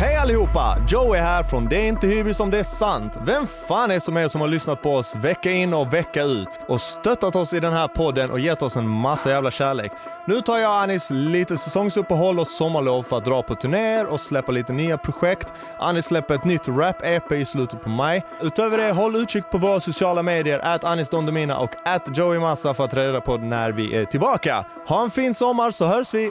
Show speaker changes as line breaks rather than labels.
Hej allihopa! Joey här från Det är inte hybris om det är sant. Vem fan är som er som har lyssnat på oss vecka in och vecka ut och stöttat oss i den här podden och gett oss en massa jävla kärlek. Nu tar jag och Anis lite säsongsuppehåll och sommarlov för att dra på turnéer och släppa lite nya projekt. Anis släpper ett nytt rap-EP i slutet på maj. Utöver det, håll utkik på våra sociala medier, at Anis Don Demina och at Joey Massa för att ta reda på när vi är tillbaka. Ha en fin sommar så hörs vi!